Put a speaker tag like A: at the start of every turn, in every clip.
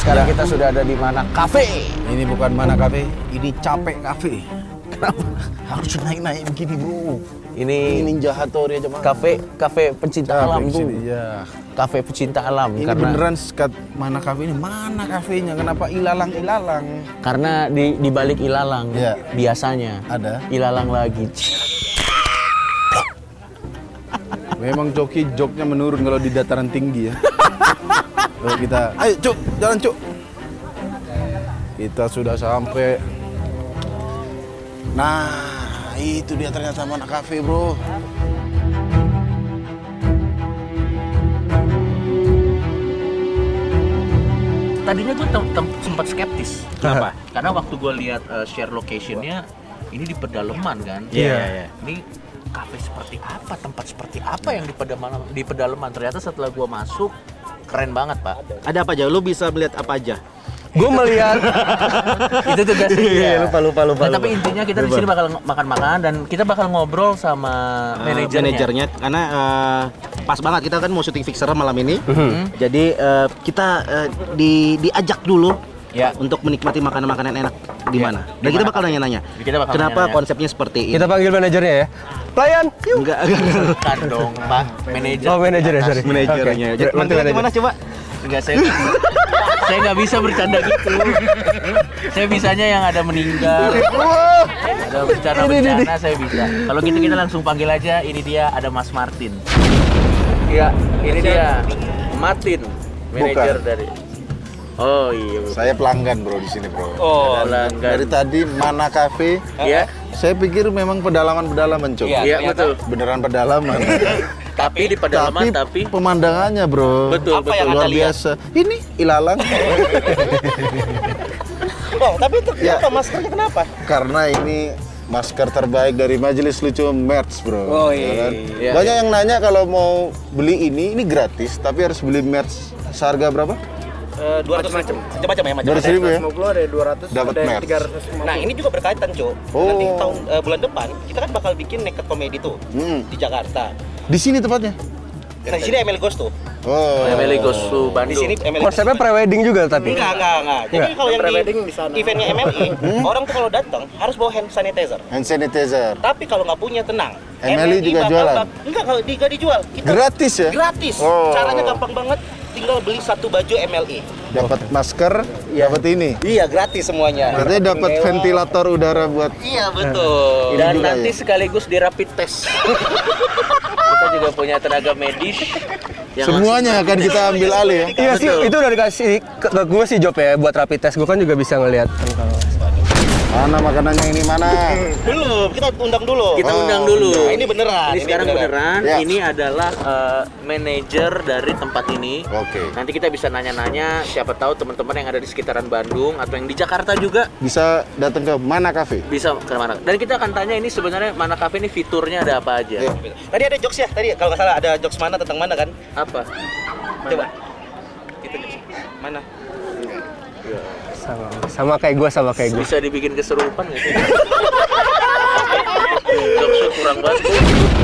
A: Sekarang
B: Ya.
A: kita sudah ada di mana? Cafe.
B: Ini bukan mana kafe, ini capek kafe.
A: Kenapa harus naik-naik begini, Bro? Ini
B: Ini Ninja Hattori aja mah.
A: kafe kafe pencinta
B: Capek
A: alam,
B: di
A: Bu.
B: sini, Ya.
A: Kafe pecinta alam
B: Ini
A: karena
B: beneran sekat mana kafe ini? Mana kafenya? Kenapa ilalang ilalang?
A: karena di di balik ilalang
B: Iya.
A: biasanya
B: Ada.
A: ilalang lagi.
B: Memang joki joknya menurun kalau di dataran tinggi ya. kalau kita, ayo cuk, jalan cuk. Kita sudah sampai. Nah, itu dia ternyata mana kafe bro.
C: Tadinya gue tem- tem- sempat skeptis. Kenapa? Karena waktu gue lihat eh, share locationnya, ini di pedalaman kan.
B: Iya, iya, iya.
C: Ini kafe seperti apa, tempat seperti apa yang di pedalaman? Di pedalaman ternyata setelah gue masuk keren banget pak.
D: Ada apa aja? Lu bisa melihat apa aja? eh,
A: Gue melihat
C: Itu tugas dia.
D: Iya, lupa, lupa, lupa,
C: Nah, tapi
D: lupa.
C: intinya kita di
D: Lupa.
C: sini bakal makan-makan dan kita bakal ngobrol sama
D: manajernya.
C: manajernya.
D: Ah, manajernya karena eh, pas banget kita kan mau syuting fixer malam ini. Jadi eh, kita eh, di diajak dulu
C: Ya.
D: untuk menikmati makanan-makanan enak di mana. Dan kita bakal nanya-nanya.
C: Kita bakal
D: kenapa
C: nanya-nanya.
D: konsepnya seperti ini?
E: Kita panggil manajernya ya. Pelayan. Yuk.
D: Enggak, enggak, enggak.
C: Bukan dong pak, manajer.
E: Oh, manajer ya, sorry.
D: manajernya.
E: Oke,
D: Jadi
E: berarti
D: manggilnya
E: manajer.
D: gimana coba?
C: Enggak saya saya nggak bisa bercanda gitu. saya bisanya yang ada meninggal. ada bercanda-bercanda saya bisa. Kalau gitu kita langsung panggil aja. Ini dia ada Mas Martin.
A: Iya, ini dia Martin,
B: Bukan.
A: manajer dari. Oh iya.
B: Saya pelanggan bro di sini bro.
A: Oh,
B: Dari
A: pelanggan.
B: tadi mana kafe?
A: Iya,
B: Saya pikir memang pedalaman-pedalaman cuk.
A: iya betul.
B: Beneran pedalaman.
A: Tapi di pedalaman tapi,
B: pemandangannya bro.
A: Betul, Apa betul. yang
B: luar
A: Anda lihat?
B: biasa. Ini ilalang.
D: Oh, tapi itu
B: Ya.
D: kenapa maskernya kenapa?
B: Karena ini masker terbaik dari Majelis Lucu Merch, Bro.
D: Oh,
B: Ya
D: iya.
B: kan? Banyak yang nanya kalau mau beli ini, ini gratis, tapi harus beli merch seharga berapa?
D: 200 macam. Macam-macam ya, macam.
B: 200 ribu ya? Dapat merch.
D: Nah, ini juga berkaitan, Cuk. eh,
B: Oh. Nanti tahun,
D: bulan depan kita kan bakal bikin naked comedy tuh
B: Hmm.
D: di Jakarta.
B: Di sini tepatnya?
D: Nah, di sini ML Ghost tuh.
B: Oh.
A: Emily
D: Di
A: Gosu Bandung.
D: sini ML Ghost.
E: Konsepnya pre-wedding juga tapi.
D: Enggak, enggak, enggak. Jadi kalau yang di eventnya MLI, orang tuh kalau datang harus bawa hand sanitizer.
B: Hand sanitizer.
D: Tapi kalau nggak punya tenang.
B: MLI juga
D: bakal-
B: jualan?
D: bak- Enggak, kalau di- nggak dijual. Kita
B: Gratis ya?
D: gratis.
B: Oh.
D: Caranya gampang banget. Tinggal beli satu baju E. MLI.
B: Dapat masker, dapat ini.
D: Iya, gratis semuanya.
B: Berarti dapat
D: Mewah.
B: ventilator udara buat
D: Iya, betul.
B: ini
C: Dan
B: juga
C: nanti
B: ya.
C: sekaligus di rapid test. kita juga punya tenaga medis. yang
B: Semuanya akan kita ambil alih ya.
E: Iya sih, itu udah dikasih ke, ke gue sih job ya buat rapid test. Gue kan juga bisa ngelihat.
B: Mana makanannya ini mana?
D: Belum, kita undang dulu.
C: Kita
B: Oh,
C: undang dulu.
D: Nah, ini beneran.
C: Ini sekarang beneran.
B: Ya.
C: Ini adalah eh, manajer dari tempat ini.
B: Oke.
C: Nanti kita bisa nanya-nanya. Siapa tahu teman-teman yang ada di sekitaran Bandung atau yang di Jakarta juga
B: Bisa datang ke mana kafe?
C: bisa ke mana. Dan kita akan tanya ini sebenarnya mana kafe ini fiturnya ada apa aja?
B: Iya.
D: Tadi ada jokes ya, tadi kalau nggak salah ada jokes mana tentang mana kan?
C: Apa?
D: Coba. Itu jokes. Mana?
E: Sama, sama kayak gue, sama kayak gue.
C: Bisa dibikin keserupan nggak sih? Jokesnya kurang banget.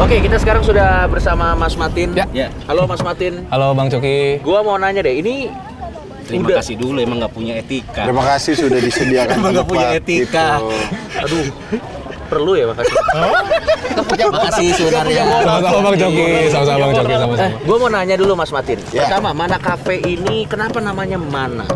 C: Oke, kita sekarang sudah bersama Mas Martin.
D: Ya.
C: Halo Mas Martin.
E: Halo Bang Coki.
C: Gua mau nanya deh, ini
D: Terima
C: udah-
D: kasih dulu emang nggak punya etika.
B: Terima kasih sudah disediakan
D: Emang nggak punya
B: tempat,
D: etika.
B: gitu.
C: Aduh, perlu ya makasih.
D: Makasih sebenarnya. Iya.
E: Sama-sama Bang Coki, sama-sama Bang Coki,
C: Eh,
E: sama-sama.
C: gue mau nanya dulu Mas Martin.
B: Ya.
C: Pertama, mana kafe ini? Kenapa namanya mana?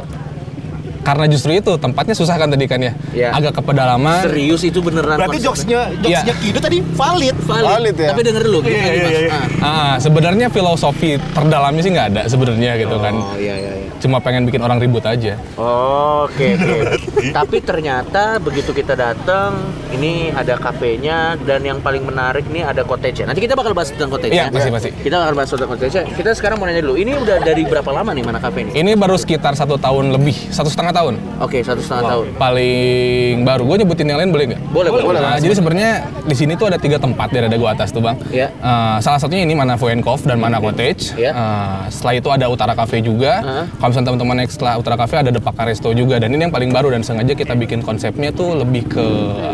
E: Karena justru itu tempatnya susah kan tadi kan ya.
C: Iya.
E: Agak Iya. ke pedalaman.
C: Serius itu beneran?
D: Berarti
C: konsepnya?
D: jokesnya jokesnya Kido tadi valid. Iya,
C: valid.
B: Valid ya?
C: Tapi denger dulu, gimana nih, Mas? Ah.
E: Ah, sebenarnya filosofi terdalamnya sih nggak ada sebenarnya gitu kan.
C: Oh iya iya. iya.
E: Cuma pengen bikin orang ribut aja.
C: Oh, Oke oke. Tapi ternyata begitu kita datang, ini ada kafenya dan yang paling menarik nih ada cottage. Nanti kita bakal bahas tentang cottage. ya.
E: Iya, pasti, pasti.
C: Kita bakal bahas tentang cottage. Kita sekarang mau nanya dulu, ini udah dari berapa lama nih mana kafe ini?
E: Ini baru sekitar satu tahun lebih, satu setengah tahun.
C: Oke, satu setengah tahun.
E: Paling baru. Gue nyebutin yang lain boleh nggak?
C: Boleh, boleh.
E: Nah, jadi sebenarnya di sini tuh ada tiga tempat dari ada gua atas tuh bang.
C: Iya.
E: Eh, salah satunya ini mana Voenkov dan mana Cottage.
C: Iya.
E: Eh, setelah itu ada Utara Cafe juga.
C: Heeh.
E: Kalau misalnya teman-teman naik setelah Utara Cafe ada Depaka Resto juga. Dan ini yang paling baru dan sengaja kita bikin konsepnya tuh lebih ke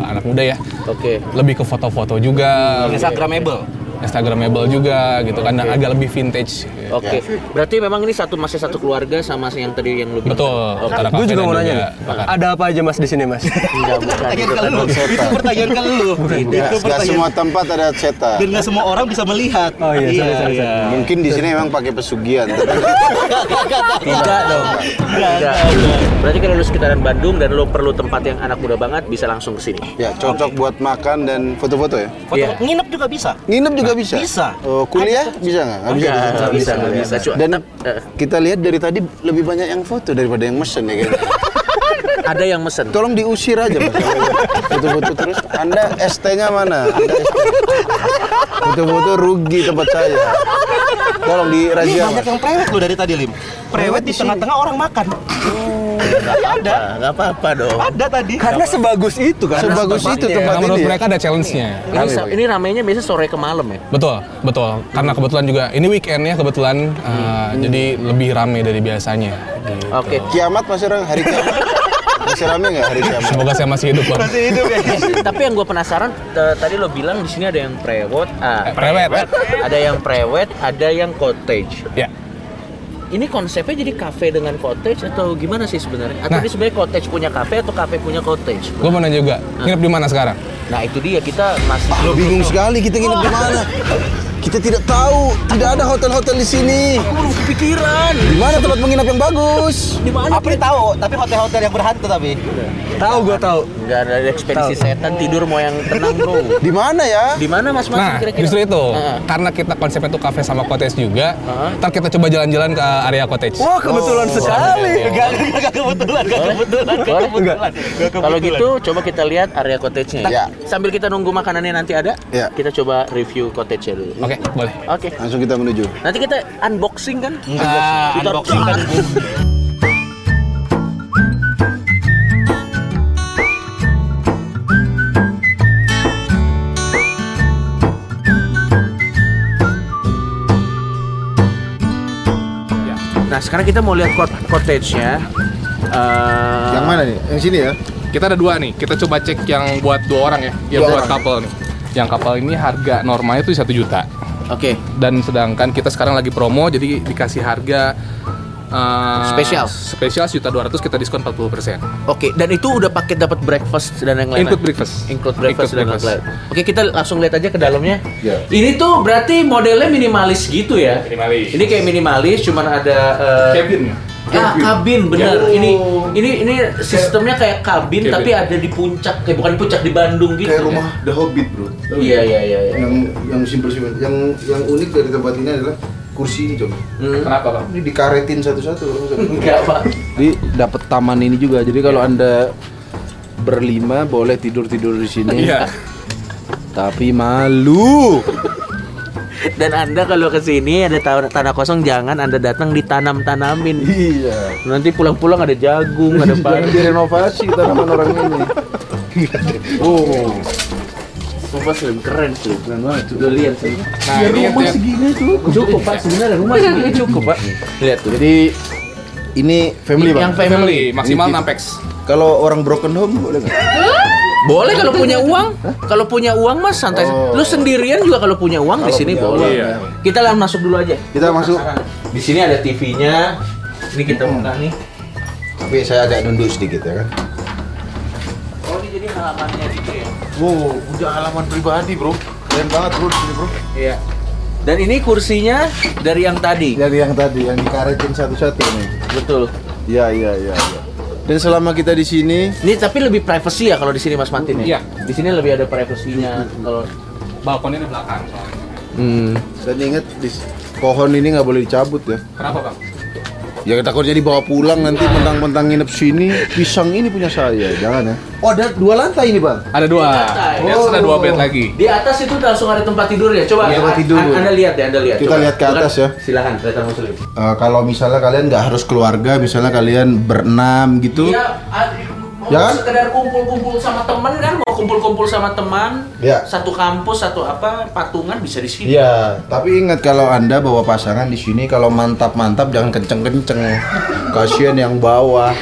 E: anak muda ya.
C: Oke.
E: Lebih ke foto-foto juga,
D: Instagramable.
E: Instagramable juga gitu kan dan agak lebih vintage.
C: Oke. Berarti memang ini satu masih satu keluarga sama yang tadi yang lu bilang.
E: Betul.
C: Oke.
E: Utara
F: Gue
E: Cafe
F: juga
E: dan
F: mau nanya nih,
E: Bakar.
F: ada apa aja mas di sini mas?
C: Enggak, bukan.
D: Itu pertanyaan ke lu.
B: Ya,
E: Oh,
B: Nggak-
D: Itu
B: nggak
D: pertanyaan.
B: semua tempat ada cetak.
D: Dan nggak semua orang bisa melihat.
F: Oh iya, sorry, sorry, sorry.
B: Mungkin di sini memang pakai pesugihan. tapi
C: Tidak dong. Tidak. Berarti kalau lu sekitaran Bandung dan lu perlu tempat yang anak muda banget bisa langsung ke sini.
B: ya cocok buat makan dan foto-foto ya.
D: Foto-
C: Iya.
D: Nginep juga bisa.
B: Nginep juga bisa.
D: Nah, Bisa.
B: Oh, kuliah bisa nggak? Nggak bisa.
C: Nggak, nggak bisa, nggak bisa. Cuma-
B: Dan
C: Eh.
B: kita lihat dari tadi lebih banyak yang foto daripada yang mesen ya kayaknya.
C: Ada yang mesen.
B: Tolong diusir aja Mas. Foto-foto terus. Anda ST-nya mana? Anda ST. Foto-foto rugi tempat saya. Tolong
D: Ini
C: Iya,
B: dirazia.
D: banyak
B: Mas.
D: yang prewet lo dari tadi, Lim. Prewet di tengah-tengah orang makan.
C: Ada. Enggak apa-apa dong.
D: Ada tadi.
F: Karena sebagus itu kan.
B: Sebagus itu tempat
E: Karena menurut
B: ini. ya.
E: mereka ada challenge-nya.
C: Ini, sa- ini ramainya biasa sore ke malam ya.
E: Betul, betul. Karena kebetulan juga ini weekend ya kebetulan, eh, jadi lebih rame dari biasanya. Gitu.
C: Oke.
B: Kiamat masih orang hari kiamat. Masih rame nggak hari kiamat?
E: Semoga saya masih hidup, Bang.
C: Eh, tapi yang gue penasaran eh, tadi lo bilang di sini ada yang prewet, ah,
E: Eh, prewed.
C: ada yang prewed, ada yang cottage.
E: Ya.
C: Ini konsepnya jadi kafe dengan cottage atau gimana sih sebenarnya? Atau
E: Nah.
C: ini sebenarnya cottage punya kafe atau kafe punya cottage?
E: Gue mau nanya juga, nginep di mana sekarang?
C: Nah itu dia kita masih
B: Lo bingung sekali kita nginep di mana. Kita tidak tahu, tidak ada hotel-hotel di sini.
C: belum kepikiran.
B: Di mana tempat menginap yang bagus?
C: Di mana?
D: Apri tahu, tapi hotel-hotel yang berhantu tapi.
F: Tahu gue tahu.
C: Enggak ada ekspedisi setan tidur mau yang tenang bro.
B: Di mana ya?
C: Di mana Mas Mas
E: Nah,
C: kira-kira?
E: justru itu.
C: Ah.
E: Karena kita konsepnya tuh kafe sama cottage juga,
C: Ah.
E: ntar kita coba jalan-jalan ke area cottage.
F: Wah
B: Oh,
F: kebetulan
B: iya,
F: sekali.
D: Gak, gak kebetulan, gak
C: Boleh?
D: kebetulan, gak
C: Boleh?
D: kebetulan. Gak
C: Kalau
D: kebetulan. Nah.
C: gitu coba kita lihat area cottage-nya.
B: Ya.
C: ya. Sambil kita nunggu makanannya nanti ada,
B: Ya.
C: kita coba review cottage-nya dulu.
E: Oke, boleh.
C: Oke.
B: Langsung kita menuju.
C: Nanti kita unboxing kan?
E: Ah,
C: Kita Ya.
D: unboxing kan.
C: Nah, sekarang kita mau lihat cot- cottage-nya. Eh,
B: Yang mana nih? Yang sini ya?
E: Kita ada dua nih. Kita coba cek yang buat dua orang ya, yang
B: Dua
E: buat
B: orang.
E: couple nih. Yang couple ini harga normalnya tuh satu juta.
C: Oke.
E: Dan sedangkan kita sekarang lagi promo, jadi dikasih harga eh,
C: Spesial.
E: Spesial juta dua ratus kita diskon 40 persen.
C: Oke, dan itu udah paket dapat breakfast dan yang lain.
E: Include breakfast.
C: Include breakfast
E: Include
C: dan yang lain.
E: breakfast.
C: Oke, kita langsung lihat aja ke dalamnya.
B: Iya.
C: Ini tuh berarti modelnya minimalis gitu ya.
E: Minimalis.
C: Ini kayak minimalis, cuman ada eh,
E: Cabin.
C: Ah,
E: Ya.
C: kabin bener. Ini ini ini sistemnya kayak kabin
E: Cabin.
C: tapi ada di puncak, kayak bukan di puncak di Bandung gitu. ya.
B: The Hobbit bro.
C: Iya iya iya. iya.
B: Yang yang simpel-simpel. Yang yang unik dari tempat ini adalah kursi ini coba.
C: Hmm.
E: Kenapa, Bang?
B: Ini dikaretin satu-satu.
C: Enggak pak.
B: Jadi dapat taman ini juga. Jadi kalau anda berlima boleh tidur tidur di sini.
E: Iya.
B: Tapi malu.
C: Dan anda kalau kesini ada ta- tanah kosong jangan anda datang ditanam tanamin.
B: Iya.
C: Nanti pulang-pulang ada jagung, ada
B: Jangan
C: padi.
B: direnovasi tanaman orang ini. Oh,
C: Sumpah Slim, keren Slim.
B: keren banget tuh.
C: Lu lihat Slim.
E: Nah, ini yang-
B: Ya, segini tuh.
C: Cukup pak, sebenarnya rumah segini cukup pak. Lihat tuh.
B: Jadi ini family bang.
C: Yang family.
E: family maksimal
B: Ini-
E: 6 packs.
B: Kalau orang broken home boleh nggak?
C: Boleh kalau punya uang, kalau punya uang mas santai.
B: Oh.
C: Lu sendirian juga kalau punya uang di
B: Kalau
C: sini
B: punya
C: boleh.
B: uang, ya.
C: Kita lah masuk dulu aja.
B: Kita masuk.
C: Di sini ada TV-nya. Ini kita
B: Hmm.
C: buka nih.
B: Tapi saya agak nunduk sedikit ya kan.
C: Oh ini jadi halamannya gitu ya.
B: Wow, udah halaman pribadi bro. Keren banget bro di sini bro.
C: Iya. Dan ini kursinya dari yang tadi.
B: Dari yang tadi yang dikaretin satu-satu nih.
C: Betul.
B: Iya iya iya. iya. Dan selama kita di sini,
C: Ini tapi lebih privacy ya kalau di sini Mas Martin ya. Hmm,
E: Iya.
C: Di sini lebih ada privasinya kalau
E: Balkonnya di belakang soalnya.
B: hmm, saya ingat di pohon ini nggak boleh dicabut ya.
E: Kenapa, Bang?
B: Ya takut jadi bawa pulang nanti mentang-mentang nginep sini, pisang ini punya saya, jangan ya. Oh ada dua lantai ini bang.
E: Ada dua.
C: Lantai.
E: Dia ada dua
C: Oh.
E: bed lagi.
C: Di atas itu langsung ada tempat tidur ya. Coba
B: Iya, tempat
C: an-
B: tidur.
C: an- Anda lihat ya, Anda lihat.
B: Kita lihat ke atas ya.
C: Silahkan, Retan Muslim.
B: Eh, kalau misalnya kalian nggak harus keluarga, misalnya kalian berenam gitu.
C: Iya, a- mau
B: Ya kan?
C: sekedar kumpul-kumpul sama teman kan, mau kumpul-kumpul sama teman,
B: Iya.
C: satu kampus, satu apa, patungan bisa di sini.
B: Iya, tapi ingat kalau Anda bawa pasangan di sini kalau mantap-mantap jangan kenceng-kenceng. Kasihan yang bawa.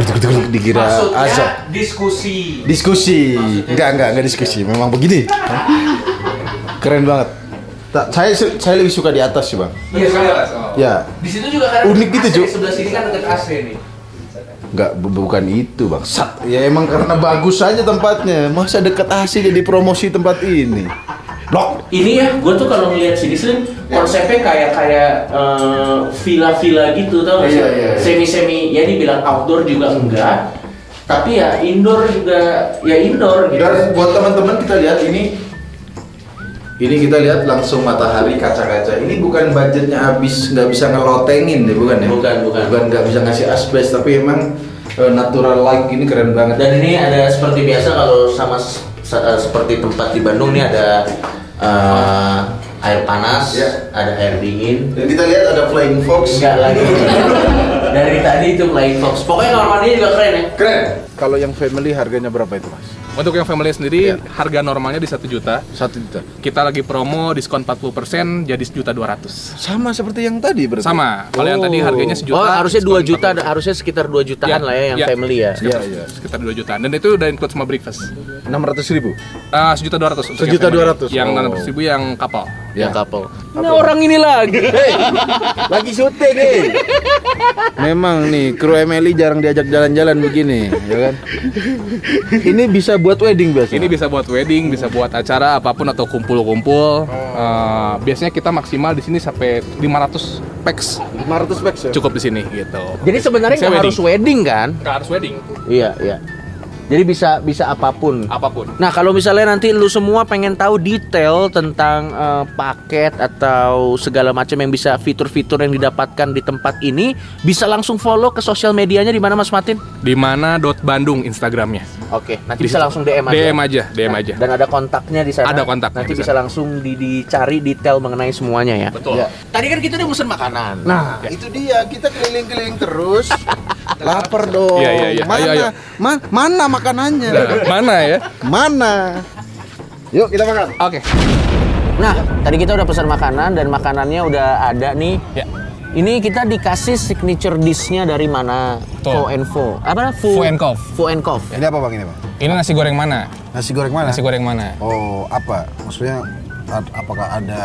B: Gedeg-gedeg dikira
C: Maksudnya
B: azab.
C: diskusi.
B: Diskusi. Enggak, enggak, enggak diskusi. Memang begini. Keren banget. Tak, saya su- saya lebih suka di atas sih bang.
C: Iya, saya Mas. Oh.
B: Ya,
C: Di situ juga kan
B: Unik gitu,
C: AC,
B: Cuk.
C: Sebelah sini kan dekat AC nih.
B: nggak bu- bukan itu bang. Sat, ya emang karena bagus aja tempatnya. Masa dekat AC jadi promosi tempat ini. Blok.
C: Ini ya, gue tuh kalau ngeliat sini sering konsepnya kayak kayak eh, villa-villa gitu tau nggak sih?
B: Iya, iya, iya.
C: Semi-semi, ya dibilang outdoor juga enggak. Tapi ya indoor juga, ya indoor gitu.
B: Dan buat teman-teman kita lihat ini ini kita lihat langsung matahari kaca-kaca. Ini bukan budgetnya habis, nggak bisa ngelotengin deh, bukan ya?
C: Bukan, bukan.
B: Bukan nggak bisa ngasih asbes, tapi emang eh, natural light ini keren banget.
D: Dan ini ada seperti biasa kalau sama s- sa- eh, seperti tempat di Bandung nih ada eh, air panas,
B: Iya.
D: ada air dingin.
B: Dan kita lihat ada flying fox.
C: Enggak lagi. Dari tadi itu flying fox. Pokoknya kamar mandinya juga keren ya.
B: Keren. Kalau yang family harganya berapa itu mas?
E: Untuk yang family sendiri,
C: Iya.
E: harga normalnya di 1 juta.
B: Satu juta.
E: Kita lagi promo diskon 40% jadi sejuta 200.
B: Sama seperti yang tadi berarti.
E: Sama. Kalau yang tadi harganya sejuta.
C: Oh, harusnya 2
E: diskon
C: juta,
E: 40%.
C: harusnya sekitar 2 jutaan
E: Ya,
C: lah ya yang
E: ya.
C: family ya.
B: Iya
E: Sekitar,
B: iya.
E: sekitar 2 jutaan. Dan itu udah include sama breakfast.
B: Enam ratus ribu.
E: Ah, sejuta 200. untuk yang
B: Sejuta
E: family.
B: 200.
E: Yang
B: Oh.
E: 600 ribu yang kapal.
C: Yang couple.
E: Nah, orang ini lagi.
B: Lagi syuting nih. Memang nih kru Emily jarang diajak jalan-jalan begini, ya kan? Ini bisa buat wedding biasa.
E: Ini bisa buat wedding, bisa buat acara apapun atau kumpul-kumpul.
B: Oh.
E: Eh, biasanya kita maksimal di sini sampai 500 packs
B: 500 packs ya.
E: cukup di sini gitu.
C: Jadi sebenarnya
E: Bisa
C: nggak harus wedding kan?
E: Nggak harus wedding,
C: Iya, iya. Jadi bisa bisa apapun.
E: apapun.
C: Nah, kalau misalnya nanti lu semua pengen tahu detail tentang eh, paket atau segala macam yang bisa fitur-fitur yang didapatkan di tempat ini, bisa langsung follow ke sosial medianya di mana Mas Martin?
E: Di mana dot Bandung Instagramnya?
C: Oke, nanti
E: Di
C: bisa
E: situ.
C: langsung DM aja.
E: DM aja, DM aja.
C: Dan ada kontaknya di sana.
E: Ada kontaknya
C: Nanti
E: di
C: bisa
E: sana.
C: langsung di- dicari detail mengenai semuanya ya.
E: Betul.
C: Tadi kan kita udah pesen makanan.
B: Nah, itu dia kita keliling-keliling terus. Lapar dong.
E: Iya, iya, iya.
B: Oh, Mana,
E: Ayo, ayo.
B: ma- mana makanannya?
E: Nah, mana ya?
B: Mana? Yuk kita makan.
E: Oke.
C: Nah, tadi kita udah pesan makanan dan makanannya udah ada nih.
E: Ya.
C: Ini kita dikasih signature dish-nya dari mana?
E: Betul.
C: Fo and Fo. Apa? Fo,
E: Pho and Kof.
C: Fo and Kof.
A: Ini apa bang ini bang?
E: Ini nasi goreng mana?
A: Nasi goreng mana?
E: Nasi goreng mana?
A: Oh apa? Maksudnya ad- apakah ada?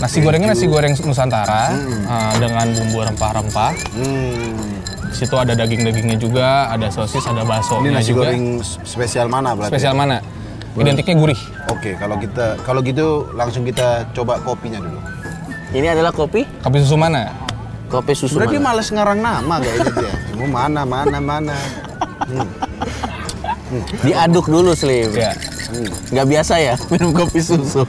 E: Nasi gorengnya nasi goreng Nusantara
B: Hmm.
E: eh, dengan bumbu rempah-rempah.
A: Hmm.
E: Di situ ada daging-dagingnya juga, ada sosis, ada bakso.
A: Ini nasi
E: juga.
A: goreng s- spesial mana berarti?
E: spesial mana? Identiknya gurih.
A: Oke, kalau kita kalau gitu langsung kita coba kopinya dulu.
C: Ini adalah kopi,
E: Kopi susu mana?
C: kopi susu.
A: Sebenarnya dia
C: mana?
A: males ngarang nama ya? kayaknya dia. Mau mana mana mana.
C: Diaduk dulu, Slim.
E: Ya.
C: Nggak biasa ya minum kopi susu.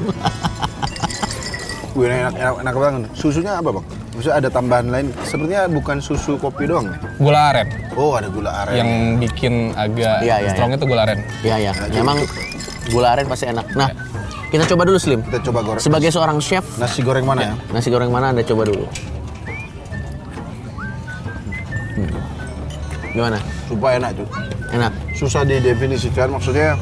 A: Wih, enak, enak, enak banget. Susunya apa bang? Maksudnya ada tambahan lain? Sepertinya bukan susu kopi doang ya?
E: Gula aren
A: Oh ada gula aren.
E: yang bikin agak
C: Iya, iya,
E: strong itu gula aren.
C: ya ya, memang gula aren pasti enak. Nah, kita coba dulu, Slim.
A: Kita coba goreng.
C: Sebagai seorang chef,
A: Nasi goreng mana ya?
C: nasi goreng mana Anda coba dulu? Hmm. Gimana?
A: Sumpah enak tuh.
C: Enak.
A: Susah didefinisikan maksudnya.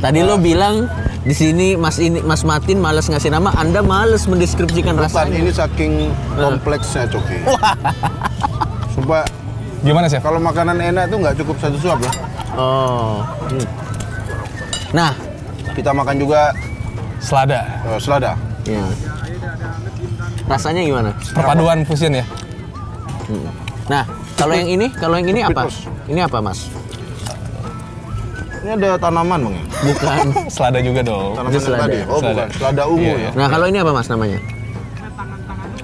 C: Tadi lo bilang di sini Mas ini Mas Martin malas ngasih nama, Anda malas mendeskripsikan
A: Saat
C: rasanya.
A: ini saking kompleksnya Coki. Sumpah
E: Gimana chef?
A: kalau makanan enak tuh nggak cukup satu suap lah.
C: Oh. Nah,
A: Kita makan juga
E: Selada.
A: eh, selada.
C: Iya. rasanya gimana?
E: Perpaduan fusion ya.
C: Nah, kalau yang ini, kalau yang ini apa?
A: Pitos.
C: Ini apa, Mas?
A: Ini ada tanaman bang ya?
C: Bukan.
E: Selada juga dong.
A: Tanaman
C: Itu
A: yang
C: selada.
A: tadi. Oh
E: Selada.
A: bukan, selada ungu
E: Iya.
A: ya.
C: Nah, kalau ini apa, Mas namanya?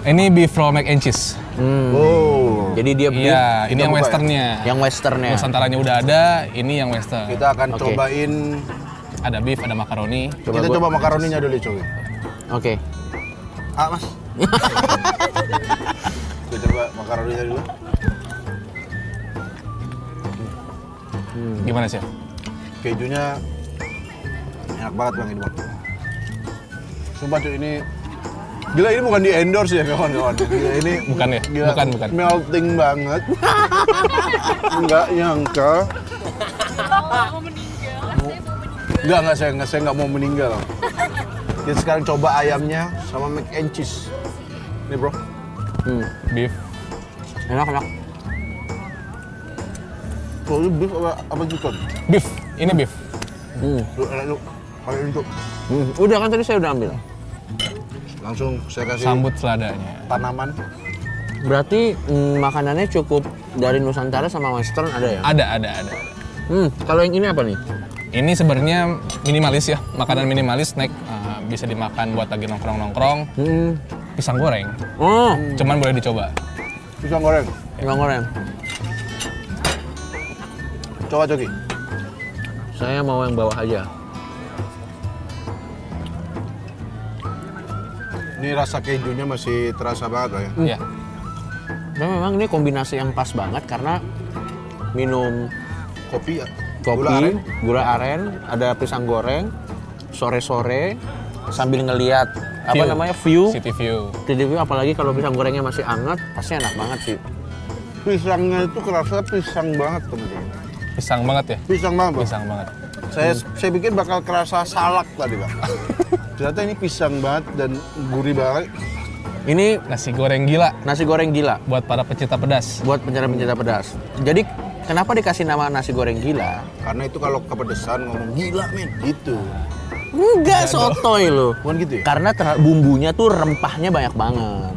E: Ini beef roll mac and cheese.
C: Hmm.
A: Oh.
C: Jadi dia beef
E: Iya, ini yang
A: buka ya?
E: westernnya.
C: yang westernnya.
E: Nusantaranya udah ada, ini yang western.
A: Kita akan
C: Oke.
A: cobain.
E: Ada beef, ada makaroni.
C: Coba
A: kita
C: gua-
A: coba makaroninya dulu Coki.
C: Oke.
A: Ah mas. kita coba makaroninya dulu.
E: Gimana chef?
A: kejunya enak banget bang ini bang sumpah cuy ini gila ini bukan di endorse ya kawan-kawan gila ini
E: Bukan ya?
A: gila,
E: Bukan, bukan.
A: melting banget nggak nyangka nggak nggak saya nggak saya nggak mau meninggal kita sekarang coba ayamnya sama mac and cheese ini bro
E: Beef.
C: Enak, enak.
A: kalau ini beef apa, apa chicken
E: Beef. Ini beef.
A: lu enak lu pakai untuk
C: Hmm, Udah kan tadi saya udah ambil.
A: langsung saya kasih
E: Sambut seladanya.
A: tanaman
C: Berarti mm, makanannya cukup dari Nusantara sama Western ada ya?
E: Ada, ada, ada.
C: Hmm, kalau yang ini apa nih?
E: Ini sebenarnya minimalis ya, makanan minimalis snack eh, bisa dimakan buat lagi nongkrong-nongkrong.
C: Hmm.
E: Pisang goreng,
C: Oh,
E: cuman boleh dicoba.
A: pisang goreng.
C: pisang goreng.
A: Coba Coki.
C: Saya mau yang bawah aja.
A: Ini rasa kejunya masih terasa banget lah ya.
E: Iya.
C: Dan Nah, memang ini kombinasi yang pas banget karena minum
A: Kopi ya.
C: kopi,
A: Gula aren.
C: gula aren, ada pisang goreng, sore-sore sambil ngeliat apa
E: View.
C: namanya view.
E: City view.
C: Jadi view apalagi kalau pisang gorengnya masih hangat, pasti enak banget sih.
A: Pisangnya itu kerasa pisang banget teman-teman.
E: Pisang banget ya,
A: Pisang banget. Bang.
E: pisang banget.
A: Saya saya pikir bakal kerasa salak tadi bang. Ternyata ini pisang banget dan gurih banget.
C: Ini
E: Nasi goreng gila
C: nasi goreng gila
E: buat para pecinta pedas.
C: buat penjara-penjara pedas. Jadi kenapa dikasih nama nasi goreng gila?
A: Karena itu kalau kepedesan ngomong gila men gitu.
C: Enggak sotoy lo.
A: Bukan gitu ya?
C: Iya Karena ter- bumbunya tuh rempahnya banyak banget.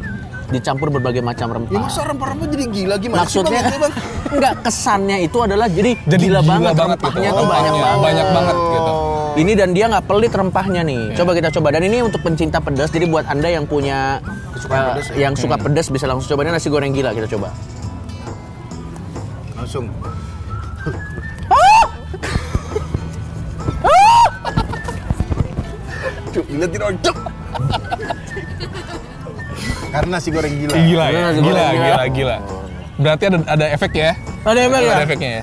C: Dicampur berbagai macam
A: Ya
C: rempah.
A: masa rempah-rempah jadi gila gimana
C: Maksudnya
A: sih bang? Itu, bang?
C: enggak kesannya itu adalah jadi,
E: Jadi
C: gila, banget,
E: gitu.
C: rempahnya tuh banyak
E: Rempahnya
C: banget.
E: Banyak banget gitu.
C: Ini dan dia nggak pelit rempahnya nih.
E: Iya.
C: Coba kita coba. Dan ini untuk pencinta pedas. Jadi buat anda yang punya eh,
A: Kesukaan pedas ya?
C: yang
E: Hmm.
C: suka pedas bisa langsung coba ini nasi goreng gila kita coba.
A: Langsung. Cuk, lihat dong, cuk. Karena nasi goreng gila.
E: Gila ya,
C: Nasi
E: gila,
C: goreng
E: gila, gila. Berarti ada ada efek ya?
C: Ada emang ya?
E: Ada efeknya ya.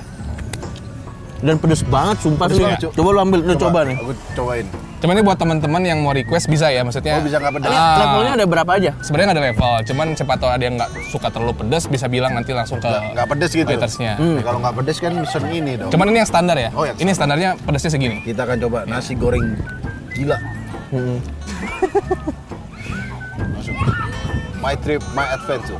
C: Dan pedes banget sumpah
E: Pedes
C: sih.
E: banget,
A: Cuk.
C: Coba lu ambil, lu coba nih.
A: Aku cobain.
E: Cuman ini buat teman-teman yang mau request bisa ya, maksudnya.
A: Oh, bisa nggak pedas?
E: Ah,
A: Ini
C: Levelnya ada berapa aja?
E: Sebenarnya nggak ada level, cuman siapa tahu ada yang nggak suka terlalu pedas bisa bilang nanti langsung ke.
A: Nggak, nggak pedes gitu.
E: waitersnya.
A: Nah, Kalau nggak pedes kan mesen ini dong.
E: Cuman ini yang standar ya.
A: Oh, yang
E: ini standarnya pedasnya segini.
A: Kita akan coba nasi goreng gila.
E: Hmm.
A: Masuk. My trip, my adventure.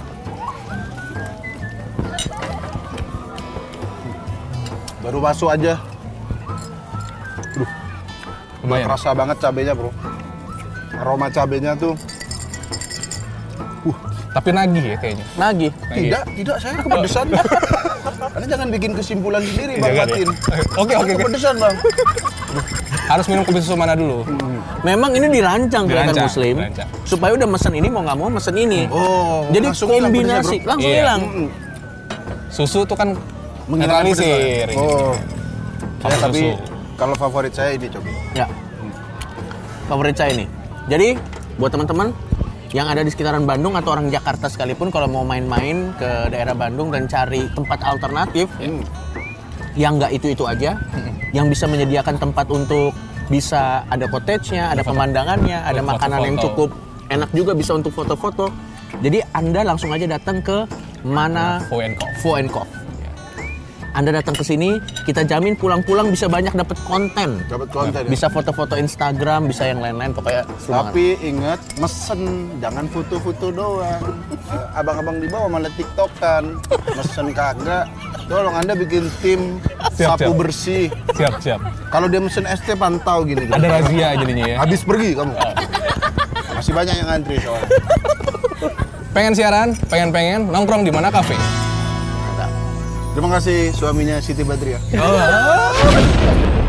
A: Baru masuk aja,
E: Lumayan.
A: kerasa banget cabenya bro. Aroma cabenya tuh
E: Tapi nagih ya kayaknya.
C: Nagih.
E: Nagih.
A: tidak, tidak saya kepedesan. Anda jangan bikin kesimpulan sendiri
E: Jangan
A: bang
E: Oh. ya.
A: Fatin.
E: Oke, oke, oke.
A: Kepedesan bang.
E: Harus minum kopi susu mana dulu?
C: Memang ini dirancang kelihatan
E: Dirancang,
C: muslim
E: dirancang.
C: supaya udah mesen ini mau nggak mau mesen ini.
A: Oh,
C: Jadi
A: langsung hilang pedesnya,
C: kombinasi
A: bro. Hmm.
C: langsung
E: Iya.
C: hilang.
E: Susu tuh kan
A: Menghilangkan pedes, Bang.
E: netralisir.
A: Oh.
E: Sama
A: Saya tapi
E: susu.
A: kalau favorit saya ini coba.
C: Ya. Favorit saya ini. Jadi buat teman-teman yang ada di sekitaran Bandung atau orang Jakarta sekalipun kalau mau main-main ke daerah Bandung dan cari tempat alternatif yang nggak itu-itu aja, yang bisa menyediakan tempat untuk bisa ada cottage-nya, ada pemandangannya, ada
E: Buat
C: makanan yang
E: foto-foto.
C: cukup enak juga bisa untuk foto-foto. Jadi Anda langsung aja datang ke mana
E: Fo and Coff.
C: Fo and Coff. Anda datang ke sini, kita jamin pulang-pulang bisa banyak dapat konten.
A: Dapat konten. ya?
C: Bisa foto-foto Instagram, bisa yang lain-lain, pokoknya seru banget.
A: Tapi ingat, mesen jangan foto-foto doang. Eh, Abang-abang di bawah malah tiktokan, mesen kagak. Tolong anda bikin tim
E: Siap,
A: sapu
E: siap.
A: bersih.
E: Siap, siap.
A: Kalau dia mesen ST pantau gini.
E: Ada razia jadinya ya.
A: Habis pergi kamu. Masih banyak yang antri soalnya.
E: Pengen siaran, pengen-pengen nongkrong di mana kafe?
A: Terima kasih suaminya Siti Badriah.